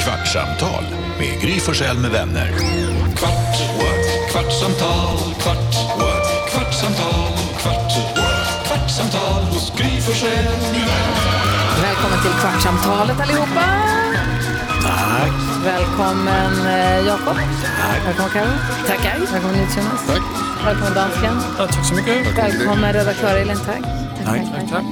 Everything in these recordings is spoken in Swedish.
Kvartsamtal med Gry Forssell med vänner. Kvart, what? kvartsamtal, kvart, what? kvartsamtal, kvart, what? kvartsamtal hos Gry Forssell med vänner. Välkommen till Kvartsamtalet allihopa. Tack. Välkommen eh, Jakob. Välkommen Carro. Tackar. Välkommen Jonas. Tack. Välkommen dansken. tack så mycket. Välkommen redaktör Elin. Tack. Tack, tack, tack.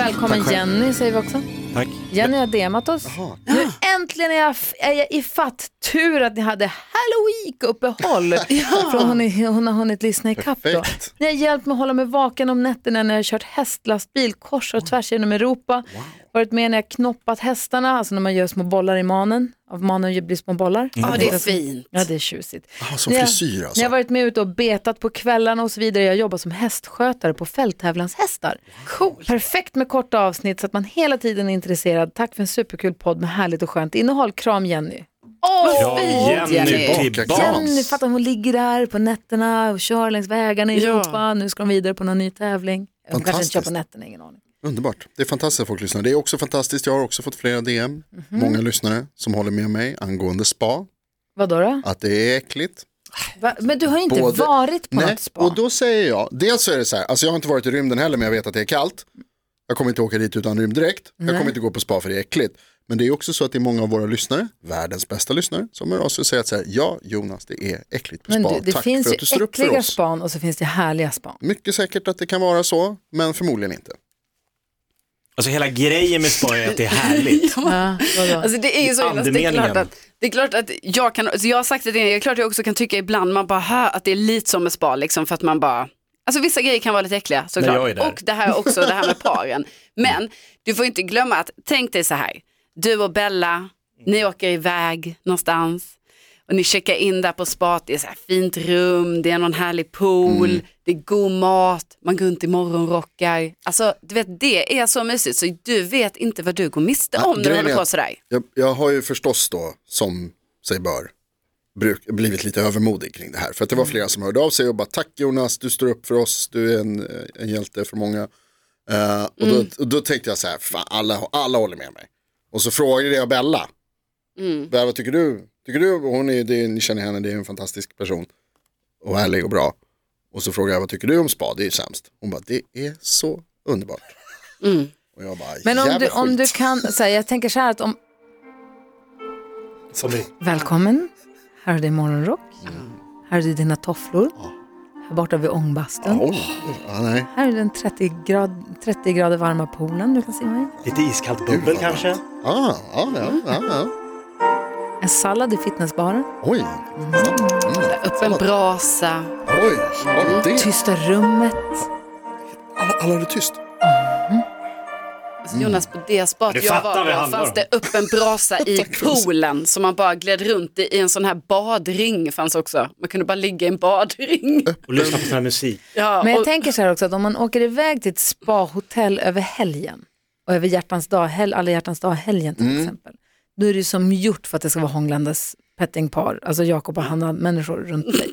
Välkommen Jenny säger vi också. Tack. Jenny har DMat oss. Nu äntligen är jag, f- är jag i fatt. Tur att ni hade Halloween-uppehåll. För hon, är, hon har hunnit lyssna i kapp då. Perfekt. Ni har hjälpt mig att hålla mig vaken om nätterna när jag har kört hästlastbil kors och tvärs genom Europa. Varit med när jag knoppat hästarna, alltså när man gör små bollar i manen. Av manen blir små bollar. Alltså, Ja, det är fint. Ja, det är tjusigt. Ah, som När jag- frisyr alltså. När jag varit med ute och betat på kvällarna och så vidare. Jag jobbar som hästskötare på fälttävlanshästar. Cool. Perfekt med korta avsnitt så att man hela tiden är intresserad. Tack för en superkul podd med härligt och skönt innehåll. Kram Jenny. Åh, fint Jenny. Jenny, fattar hon ligger där på nätterna och kör längs vägarna i Ja. Europa. Nu ska de vidare på någon ny tävling. Hon kanske inte kör på Fantastiskt. nätterna, ingen aning. Underbart. Det är fantastiskt att folk lyssnar. Det är också fantastiskt. Jag har också fått flera DM. Mhm. Många lyssnare som håller med mig angående spa. Vadå då? Att det är äckligt. Va? Men du har ju inte Både- varit på Nej. något spa. Och då säger jag. Dels så är det så här. Alltså jag har inte varit i rymden heller men jag vet att det är kallt. Jag kommer inte åka dit utan rymddräkt. Jag kommer inte gå på spa för det är äckligt. Men det är också så att det är många av våra lyssnare, världens bästa lyssnare, som hör av sig och säger att så här, ja Jonas det är äckligt på Men spa. du, det Tack finns för ju att du står upp för äckliga oss. span och så finns det härliga span. Mycket säkert att det kan vara så, men förmodligen inte. Alltså hela grejen med spa är att det är härligt. Ja, vadå? Alltså det är ju så himla- det är Andemeningen. klart att, det är klart att jag kan, alltså jag har sagt det innan, det är klart att jag också kan tycka ibland man bara hör att det är lite som med spa liksom för att man bara, alltså vissa grejer kan vara lite äckliga såklart. jag är där. och det här också, det här med paren. Men du får inte glömma att, tänk dig så här, du och Bella, ni åker iväg någonstans och ni checkar in där på spat, det är så här fint rum, det är någon härlig pool, det är god mat, man går runt i morgonrockar. Alltså du vet det är så mysigt så du vet inte vad du går miste Ja, om när du grejen håller är på att- sådär. Jag, jag har ju förstås då, som sig bör, bruk, blivit lite övermodig kring det här. För att det var flera som hörde av sig och bara tack Jonas, du står upp för oss, du är en, eh, en hjälte för många. Eh, och, då, och då tänkte jag så här, fan, alla, alla håller med mig. Och så frågade jag Bella, Bella vad tycker du? Tycker du, och hon är, det, ni känner henne, det är en fantastisk person. Och ärlig och bra. Och så frågade jag, vad tycker du om spa? Det är ju sämst. Hon bara, det är så underbart. Och jag bara, Men om jävla du, om skit. du kan, så här, jag tänker så här att om... Välkommen, här har du din morgonrock, här har du dina tofflor, här borta vid ångbastun, Åh, ja, nej. här är den 30, grad, 30 grader varma poolen du kan simma i, Lite iskallt bubbel kanske. Ah, ja, ja, ja, ja. en sallad i fitnessbaren, Oj. Mm. Öppen brasa. Oj. Oj. Det. tysta rummet. Mm. Alla, alla är tyst. Alltså Jonas, på det spat Du jag fattar vad var det på handlar fanns om. det öppen brasa i poolen som man bara gled runt i. I en sån här badring fanns också. Man kunde bara ligga i en badring. Och lyssna på sån här musik. Ja, Men jag och, tänker så här också att om man åker iväg till ett spahotell över helgen och över hjärtans dag, hel, alla hjärtans dag-helgen till exempel, då är det ju som gjort för att det ska vara Hånglandes pettingpar, alltså Jakob och Hanna, människor runt dig.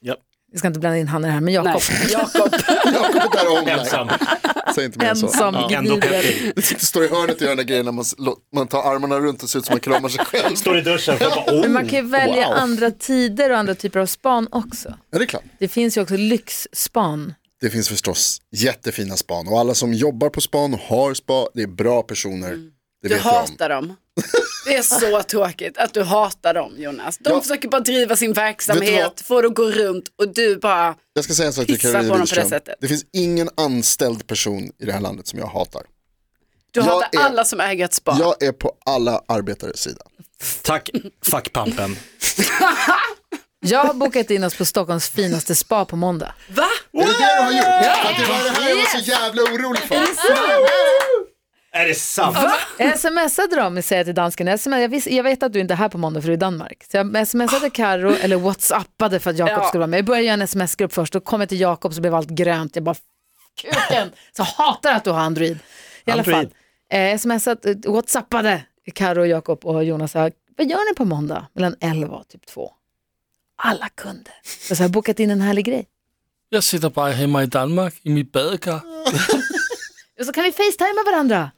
Ja. Vi ska inte blanda in Hanna i det här, men nej, Jakob Jakob. Jag kommer där och omlägga. Ensam. Säg inte mer än så. ensam Ja. Ändå glider. peppig. Det sitter står i hörnet och gör den där grejen när man, s- lå- man tar armarna runt och ser ut som man kramar sig själv. Står i duschen och bara oh. Men man kan ju välja Wow. andra tider och andra typer av span också. Ja, det är klart. Det finns ju också lyxspan. Det finns förstås jättefina span och alla som jobbar på span och har spa, det är bra personer. Det Mm. Du vet jag om. hatar dem. Det är så tråkigt att du hatar dem Jonas. De Ja. försöker bara driva sin Vet verksamhet, få det att gå runt och du bara, Jag ska säga en sak till Pissa på Karolina dem på det Widerström. sättet. Det finns ingen anställd person i det här landet som jag hatar. du Jag hatar är- alla som äger ett spa. Jag är på alla arbetares sida. Tack fackpampen. Jag har bokat in oss på Stockholms finaste spa på måndag. Va? Är det det du har gjort? Att det var det här jag var så jävla orolig för. Är det sant? Jag smsade dem, säger jag till dansken. Jag, sms, jag, vis, jag vet att du inte är här på måndag för du är i Danmark. Så jag smsade Karo eller whatsappade för att Jakob Ja. skulle vara med. Jag började göra en sms-grupp först, då kom jag till Jakob så blev allt grönt. Jag bara, kuken! Så jag hatar att du har Android. I alla fall, Android. eh, smsade, eh, whatsappade Karo, Jakob och Jonas. Så här, Vad gör ni på måndag? Mellan 11 och typ 2. Alla kunde. Och så har jag bokat in en härlig grej. Jag sitter bara hemma i Danmark i mitt badkar. Och så kan vi facetima varandra.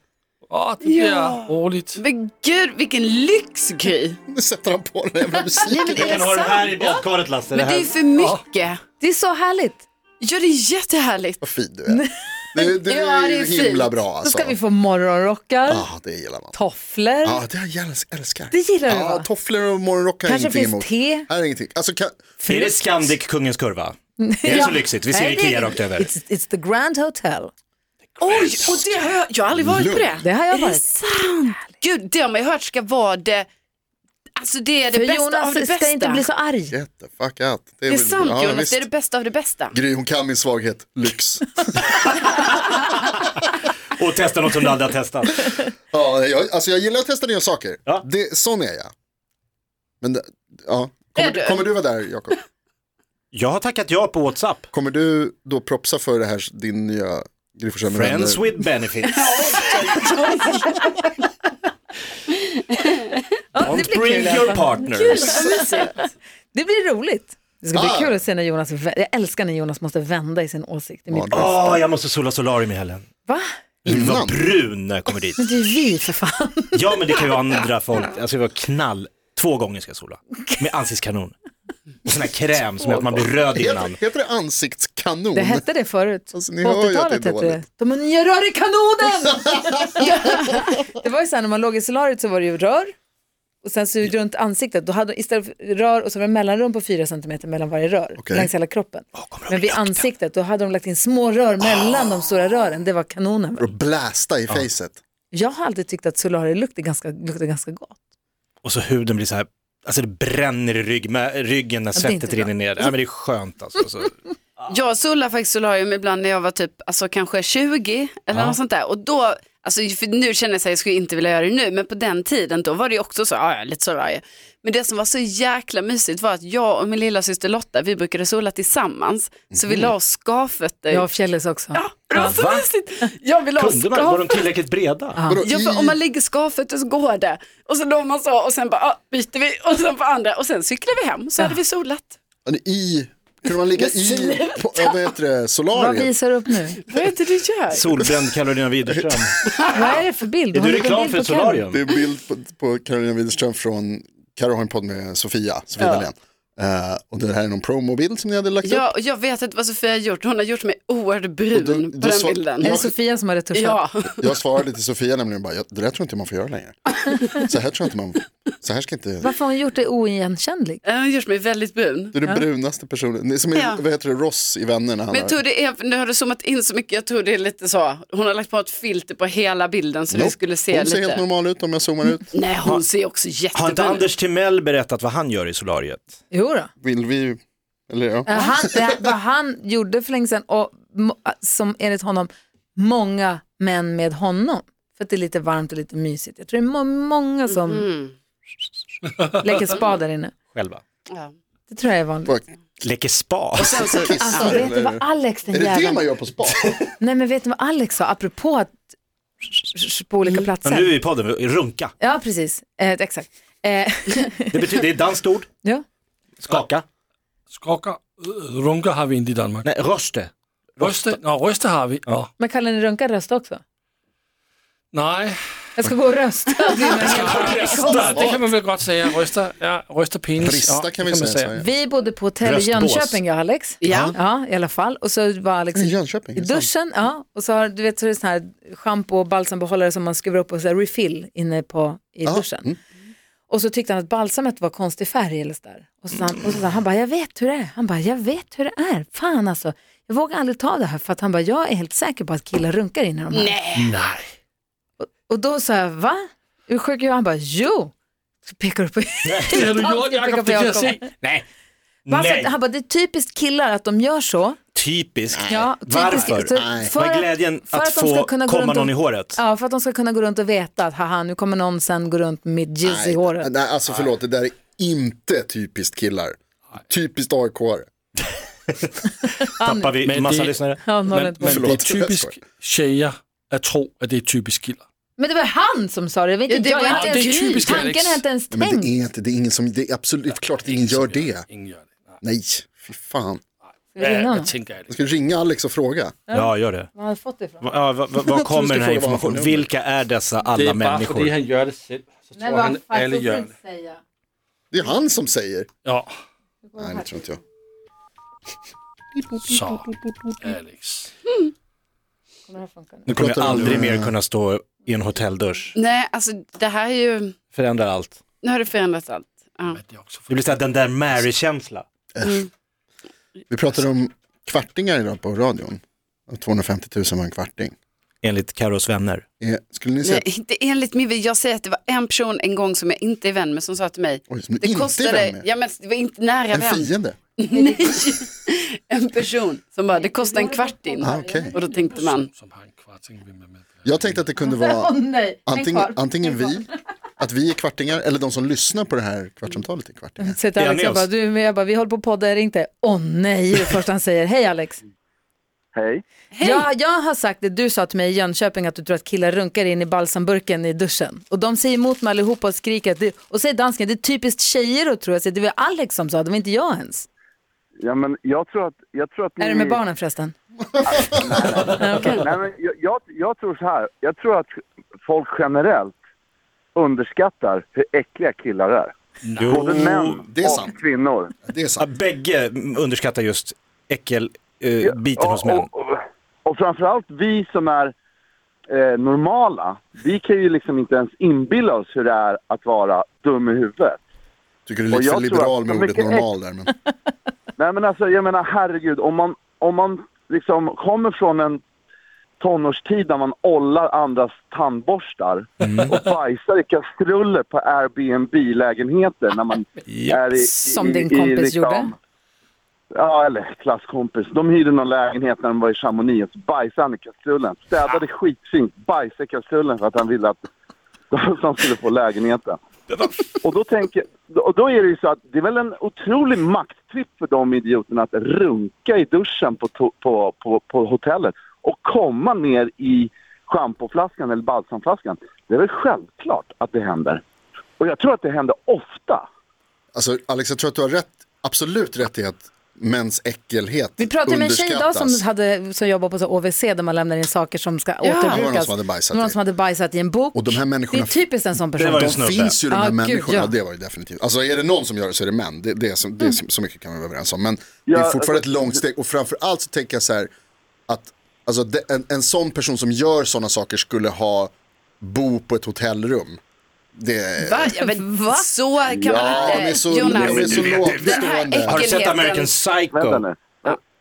Ja, det blir ja. roligt. Men gud vilken lyx Gry. Nu sätter han på den här jävla Nej, musiken. men Du är kan det ha det här sant? i badkaret Lasse. Det Men det är här. ju för mycket. Det är så härligt. Ja det är jättehärligt. Vad fin du är. Du, du Ja, det är är himla fint. bra Då alltså. ska vi få morgonrockar, Ja, det gillar man. tofflor. Ja, det jag älsk- älskar. Det gillar du, Ja, va? tofflor och morgonrock har jag Kanske ingenting finns te. emot. Här är ingenting. Alltså, kan, Är det Scandic Kungens Kurva? Är det så lyxigt? Vi ser Nej, det- Ikea rakt över. It's, it's the Grand Hotel. Oj, och det har jag, jag har aldrig varit på det. Det har jag Är det varit. sant? Gud, det har man ju hört ska vara det, alltså det är det För bästa av Jonas det bästa. ska inte bli så arg. get the fuck out. Det är väl- sant ja, Jonas, visst. det är det bästa av det bästa. Gry, hon kan min svaghet, lyx. Och testa något som du aldrig har testat. ja, jag, alltså jag gillar att testa nya saker. Ja. Det, sån är jag. Men det- ja. Kommer, Är du? kommer du vara där, Jakob? Jag har tackat ja på WhatsApp. Kommer du då propsa för det här, din nya Gry Forssell med Friends vänner? with benefits. Don't bring your partners. Det blir roligt. Det ska bli Ah. kul att se när Jonas, vä- jag älskar när Jonas måste vända i sin åsikt. Det är mitt bästa. Åh, jag måste sola solarium i helgen. Va? Jag vill vara Innan. brun när jag kommer dit. Men det är vi för fan. Ja, men det kan ju andra folk. Alltså jag var knall. Två gånger ska jag sola. Med ansiktskanon. Och sån här kräm som gör att man blir röd innan. Heter, heter det ansiktskanon? Det hette det förut. Alltså, ni På hör ju att det är 80-talet hette det. dåligt. De nya rör i kanonen! det var ju så här när man låg i solariet så var det ju rör och sen så runt ansiktet. Då hade, istället för rör och så var det mellanrum på fyra centimeter mellan varje rör Okej. längs hela kroppen. Men vid ansiktet då hade de lagt in små rör Ah. mellan de stora rören. Det var kanonen. För att blästa i facet. Jag har alltid tyckt att solarium luktar ganska, luktar ganska gott. Och så huden blir så här, alltså det bränner i rygg, med, ryggen när det är svettet inte bra. rinner ner. Ja, men det är skönt alltså. Så. Jag solade faktiskt solarium ibland när jag var typ alltså, kanske 20 eller något sånt där. Och då, alltså, för nu känner jag att jag skulle inte vilja göra det nu, men på den tiden då var det ju också så, ja, ja, lite solarium. Men det som var så jäkla mysigt var att jag och min lilla syster Lotta, vi brukade sola tillsammans. Så vi la oss skavfötter. Jag och Fjällis också. Ja, det var så Va? mysigt. Jag vill ha Kunde man, var de skavfötter. tillräckligt breda? Vadå, Ja, för om man ligger skavfötter så går det. Och så låg man så och sen bara ah, byter vi och sen på andra och sen cyklade vi hem så hade vi solat. i, i, kunde man ligga i på, ja, vad heter det, Vad solariet? visar du upp nu? Vad är det du gör? Solbränd Karolina Widerström. Vad är det för bild? Är Har du en reklam bild för på ett Karo? solarium? Det är en bild på, på Carolina Widerström från, Carro har en podd med Sofia, Sofia Dalén. Eh, och det här är någon promobild som ni hade lagt upp. Ja, och jag vet inte vad Sofia har gjort. Hon har gjort mig oerhört brun då- på då den så- bilden. Är det Jag- Sofia som har retuschat? Ja, Jag svarade till Sofia nämligen bara, "Ja, det där tror jag inte man får göra längre. Så här tror jag inte man, så här ska inte, Varför har hon gjort dig oigenkännlig? hon har gjort mig väldigt brun. du är den brunaste personen, det är som Ja. är, vad heter det, Ross i Vännerna. han har- Men jag tror det är, nu har du zoomat in så mycket, jag tror det är lite så. Hon har lagt på ett filter på hela bilden så vi Nope. skulle se Hon ser helt lite. normal ut om jag zoomar ut. Nej, hon ser också Har inte jättebrun ut. Anders Timell berättat vad han gör i solariet? Jo då. Vill vi, eller ja. Eh, Han, det, här- vad han gjorde för länge sedan och må- som enligt honom många män med honom. För att det är lite varmt och lite mysigt. Jag tror det är må- många som Mm. Mm, leker spa där inne. Själva. Ja. Det tror jag är vanligt. Bara Leker spa. kissar, Alltså, vet du vad eller? Alex den Är det det jäveln, man gör på spa? nej men vet du vad Alex sa apropå att på Mm. olika Men nu platser? är vi i podden, runka. Ja precis, eh, exakt. Eh, Det, betyder, det är ett danskt ord, ja. skaka. Skaka, øh, runker har vi inte i Danmark. Nej, röste. Ryste, nå, ryste har vi. Nå. Men kallar ni runka röst också? Nej, Jag ska gå och rösta. Det är en helt- ryster, det kan man väl godt säga. Ryster, ja, ryster penis. Brista ja, kan vi det säga. man i Sverige. Vi bodde på hotell i Röstbås. Jönköping, jag och Alex. Ja. ja, i alla fall. Och så var Alex I i Jönköping? det är duschen, sant. ja. Och så har du vet så är det sån här schampo och balsambehållare som man skruvar upp och så här refill inne på i duschen. Mm. Och så tyckte han att balsamet var konstig färg eller så där. Och så sa han, och så sa han, han bara, jag vet hur det är. Han bara, jag vet hur det är. Fan alltså, jag vågar aldrig ta det här för att han bara, jag är helt säker på att killar runkar in i de här. Nej, Och då sa jag, va? Är du sjuk? i huvudet?" Han bara, jo. Så pekar du på Det har du Ja, jag gjort, pekar Jakob, på det kan jag Jakob. se. Nej. Bara för Nej. att- Han bara, det är typiskt killar att de gör så. Typiskt. Ja, typiskt- Typ- Varför? så- Nej. för Vad är att- glädjen för att, de ska få kunna gå komma runt och- någon i håret? Ja, för att de ska kunna gå runt och veta att haha, nu kommer någon sen gå runt med mitt jizz i håret. Nej, alltså förlåt, det där är inte typiskt killar. Typiskt aik Tappar vi Men massa det- lyssnare? Ja, noll Men, ett men mål. det er Forlåt. typisk tjejer att tro, att det är typisk killar. men det var han som sa det, det var inte Ja, det jag. var jag. har inte inte ens- det är typiskt Alex. Tanken har jag inte ens Men tänkt. det är inte, det är ingen som, det är absolut klart att ingen gör det. Ingen gör det. Nej. Nej, fy fan. Ska vi Ja, ringa honom? jag tänker ärligt. Jag ska ringa Alex och fråga. Ja, gör det. Var har han fått det ifrån? Va- Ja, va, va, var Jag tror vi kommer ska den här fråga vad han får informationen? nummer. Vilka är dessa alla Det är bara människor? fordi han gör det själv. Så tror han alle får gör inte det. säga. Det är han som säger. Ja, Nej, det tror inte jag. så. Alex. Kommer det här funka nu? Nu kommer jag Pratar om- aldrig mer kunna stå i en hotelldusch. Nej, alltså det här är ju, Förändrar allt. nu har det förändrats allt. Ja. Det är också Det blir så här, den där Mary-känsla. Vi pratade om kvartingar idag på radion. Att 250 000 var en kvarting. Enligt Carros vänner. Eh, Skulle ni säga Nej, inte enligt min vän. Jag säger att det var en person en gång som jag inte är vän med som sa till mig, Oj, som du inte det är vän kostade, med? ja, men det var inte nära en vän, fiende? Nej, en person som bara, det kostar en kvarting. Ah, okej. Och då tänkte man, Som har en kvarting vi med med. Jag tänkte att det kunde Åh vara nej, Häng antingen, kvar. antingen Häng kvar. vi, att vi är kvartingar, eller de som lyssnar på det här kvartsamtalet är kvartingar. Säger till Är han Alex, med jag bara, oss? du, men jag bara, vi håller på att podda, är det inte? Åh nej, det är det första han säger. Hej Alex. Hej. Hej. Jag, jag har sagt det du sa till mig i Jönköping, att du tror att killar runkar in i balsamburken i duschen. Och de säger emot mig allihopa och skriker, att det, och säger dansken, det är typiskt tjejer att tro. Jag säger, det var Alex som sa det, det var inte jag ens. Ja, men jag tror att... Jag tror att ni... Är Mm. det med barnen förresten? Nej, men jag, jag, jag tror så här. Jag tror att folk generellt underskattar hur äckliga killar är. Jo, Både män Oh, det är och sant. kvinnor. Mm. Det är ja, sant. bägge underskattar just äckelbiten hos män. Och, och, och framförallt vi som är eh, normala, vi kan ju liksom inte ens inbilla oss hur det är att vara dum i huvudet. Tycker du är Och lite jag för tror liberal att- med så ordet mycket normal där. Men Nej men alltså jag menar herregud, om man, om man liksom kommer från en tonårstid när man ollar andras tandborstar och bajsar i kastruller på Airbnb-lägenheter när man är i, i... liksom- Som din kompis gjorde. Ja, eller klasskompis. De hyrde någon lägenhet när de var i Chamonix och så bajsade han i kastrullen. Städade skitfint, bajsade i kastrullen för att han ville att de skulle få lägenheten. Och då, tänker, och då är det ju så att det är väl en otrolig makttripp för de idioterna att runka i duschen på, to- på, på, på hotellet och komma ner i schampoflaskan eller balsamflaskan. Det är väl självklart att det händer. Och jag tror att det händer ofta. alltså, Alex, jag tror att du har rätt, absolut rätt i att mäns äckelhet Vi pratade med en tjej idag som, underskattas. hade, som jobbar på så OVC där man lämnar in saker som ska återbrukas. Det var någon som hade bajsat Det var någon i. som hade bajsat i en bok. Och de här människorna- Det är typiskt en sån person. Det var ju De snubbe. finns ju de här Ah, gud, människorna, ja. Mm. och det var det definitivt. Alltså är det någon som gör det så är det män, det, det är, så, det är så, så mycket kan vi vara överens om. Men det är Ja, fortfarande ett alltså- långt steg och framförallt så tänker jag så här att alltså, det, en, en sån person som gör sådana saker skulle ha bo på ett hotellrum. Det, va? "Ah, Ja, men, Så kan ja, man de är inte, så, de Jonas. är så Den här lågtstående. Har du sett äckelheten- American Vänta Psycho? nu.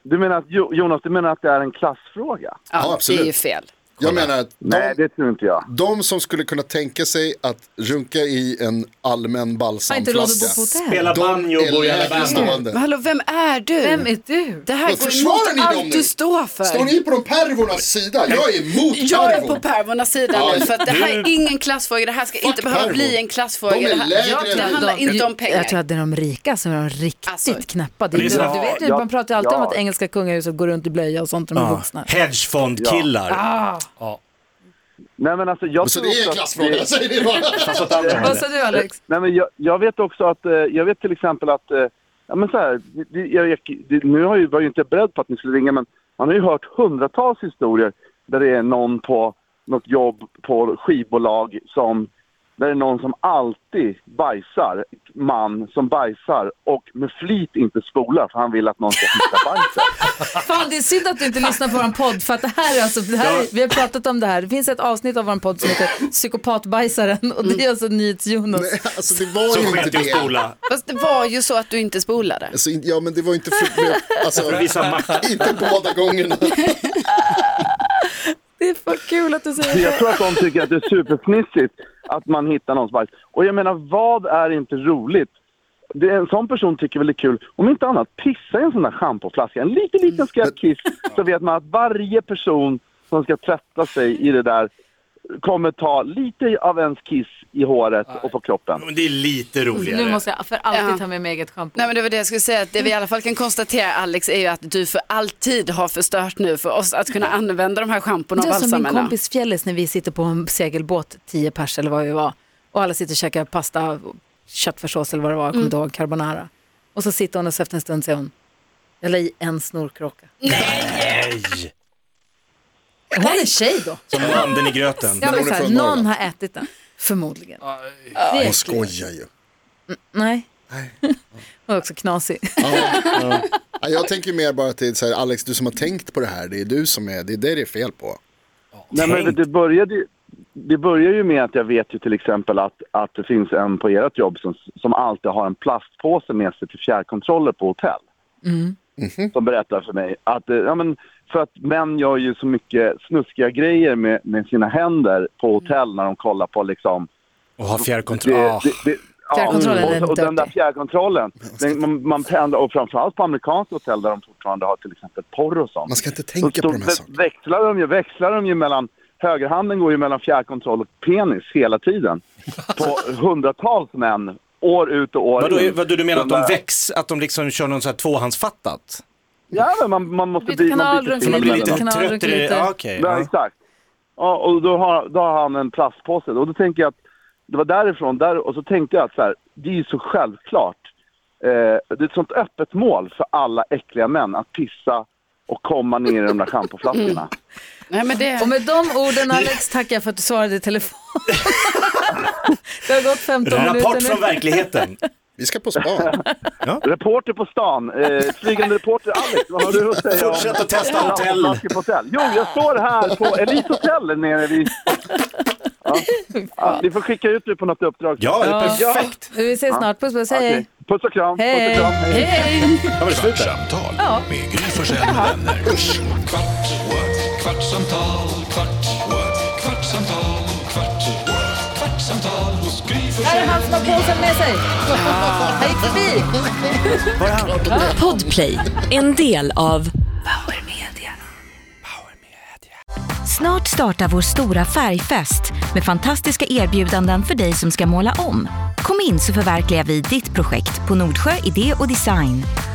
Du menar att, Jo- Jonas, du menar att det är en klassfråga? Ja, ja, det absolut. är ju fel. Jag menar att Nej, de, det tror inte jag. de som skulle kunna tänka sig att runka i en allmän Har inte råd att bo på balsamflaska. hotell. Spela banjo De och bo i är lägre Alabama. stående. Hallå, vem är du? Vem är du? Det här Vad går försvarar ni emot dem allt nu? du står för. Står ni på de pervornas sida? Jag är emot Jag är pervor. på pervornas sida nu, för att det här är du- ingen klassfråga. Det här ska inte behöva pervor. bli en klassfråga. De är det, här, lägre än det vi. handlar inte om pengar. Jag tror att det är de rika som är de riktigt Alltså, knäppa. Det är det är så- du, du vet ju, ja, man pratar ju alltid om ja. att engelska kungahuset går runt i blöja och sånt när de är Ja. vuxna. Hedgefondkillar. Nej, men alltså, jag Så tror det är en också att klassfråga, jag säger det bara. Fast åt andra Vad hållet. sa du Alex? Nej, men jag, jag vet också att, eh, jag vet till exempel att, eh, ja men så här, det- det, jag, jag, det, nu har jag, ju- var jag ju inte beredd på att ni skulle ringa men man har ju hört hundratals historier där det är någon på något jobb på skivbolag som, där det är någon som alltid bajsar, man som bajsar och med flit inte spolar för han vill att någon ska hitta bajset. Fan det är synd att du inte lyssnar på vår podd för att det här är alltså, det här, är- vi har pratat om det här. Det finns ett avsnitt av vår podd som heter Psykopatbajsaren och det är alltså NyhetsJonas. Alltså det var Så ju sket inte jag i det. skola. Fast det var ju så att du inte spolade. Alltså, in- ja men det var inte för, men, alltså, Visa makt. inte båda gångerna. Det är för kul att du säger Jag det. tror att de tycker att det är superfnissigt att man hittar någons bajs. Och jag menar, vad är inte roligt? Det är en sån person tycker väl det är kul, om inte annat, pissa i en sån där schampoflaska. En liten, liten skvätt kiss så vet man att varje person som ska tvätta sig i det där kommer ta lite av ens kiss i håret och på kroppen. Men det är lite roligare. Nu måste jag för alltid Ja. ta med mig eget schampo. Nej men det var det jag skulle säga, att det vi i alla fall kan konstatera Alex är ju att du för alltid har förstört nu för oss att kunna använda de här schamporna och Det är som min balsamerna. kompis Fjällis när vi sitter på en segelbåt, tio pers eller vad vi var, och alla sitter och käkar pasta, köttfärssås eller vad det var, jag kommer inte ihåg, carbonara. Och så sitter hon och så efter en stund säger hon, Jag la i en snorkråka. Nej! Hon är tjej då. Som handen i gröten. Jag hon är vill säga, från någon Norrland. har ätit den. Förmodligen. Hon skojar ju. Nej. Hon är också knasig. Ja, Jag tänker mer bara till så här, Alex, du som har tänkt på det här, det är du som är, det är det det är fel på. Nej, men Tänk. det, började, ju- det börjar ju med att jag vet ju till exempel att, att det finns en på ert jobb som, som alltid har en plastpåse med sig till fjärrkontroller på hotell. Mhm. Som berättar för mig att, eh, ja, men, för att män gör ju så mycket snuskiga grejer med, med sina händer på hotell när de kollar på liksom Och ha fjärrkontroll. det, Ah. det, det, ja, Fjärrkontrollen är och, och den där dirty. fjärrkontrollen, den, man, man pendlar, och framförallt på amerikanska hotell där de fortfarande har till exempel porr och sånt. Man ska inte tänka Så- på så de här sakerna. Växlar de ju, växlar de ju mellan, högerhanden går ju mellan fjärrkontroll och penis hela tiden. På hundratals män, år ut och år Vadå, in. vadå, du menar att där- de väx, att de liksom kör någon så här tvåhandsfattat? Ja, men man, man måste Byter bli... kanal Man byter runt till Så man blir mellan lite Lite dem. kanal trött runt i det? lite. Ja, okej. Ja, Ja. exakt. Ja, och då har, då har han en plastpåse. Och då tänker jag att det var därifrån, där, och så tänkte jag att så här, det är ju så självklart. Eh, det är ett sånt öppet mål för alla äckliga män att pissa och komma ner i de där Mm. schampoflaskorna. Nej, men det... Och med de orden Alex tackar jag för att du svarade i telefon. Det har gått 15 Rapport minuter från nu. verkligheten. Vi ska på spa. Reporter på stan, eh, flygande reporter Alex, vad har du att säga om Fortsätt att testa hotell. Flaskor på hotell? Jo, jag står här på Elite Hotel nere vid... Ja. Ja, ni får skicka ut mig på något uppdrag. Ja, det är perfekt. Vi ses snart. Puss puss, hej. Okej. Puss och kram. Puss Hej. och kram. Hej. Hej. Ja, men sluta. Kvartsamtal med Gry Forssell med vänner. Kvart, what? kvartsamtal, kvart, what? kvartsamtal, kvart, what? kvartsamtal hos Gry Här är Forssell. han som har påsen med sig. Han gick förbi. Podplay, en del av Power Media. Snart startar vår stora färgfest med fantastiska erbjudanden för dig som ska måla om. Kom in så förverkligar vi ditt projekt på Nordsjö Idé och Design.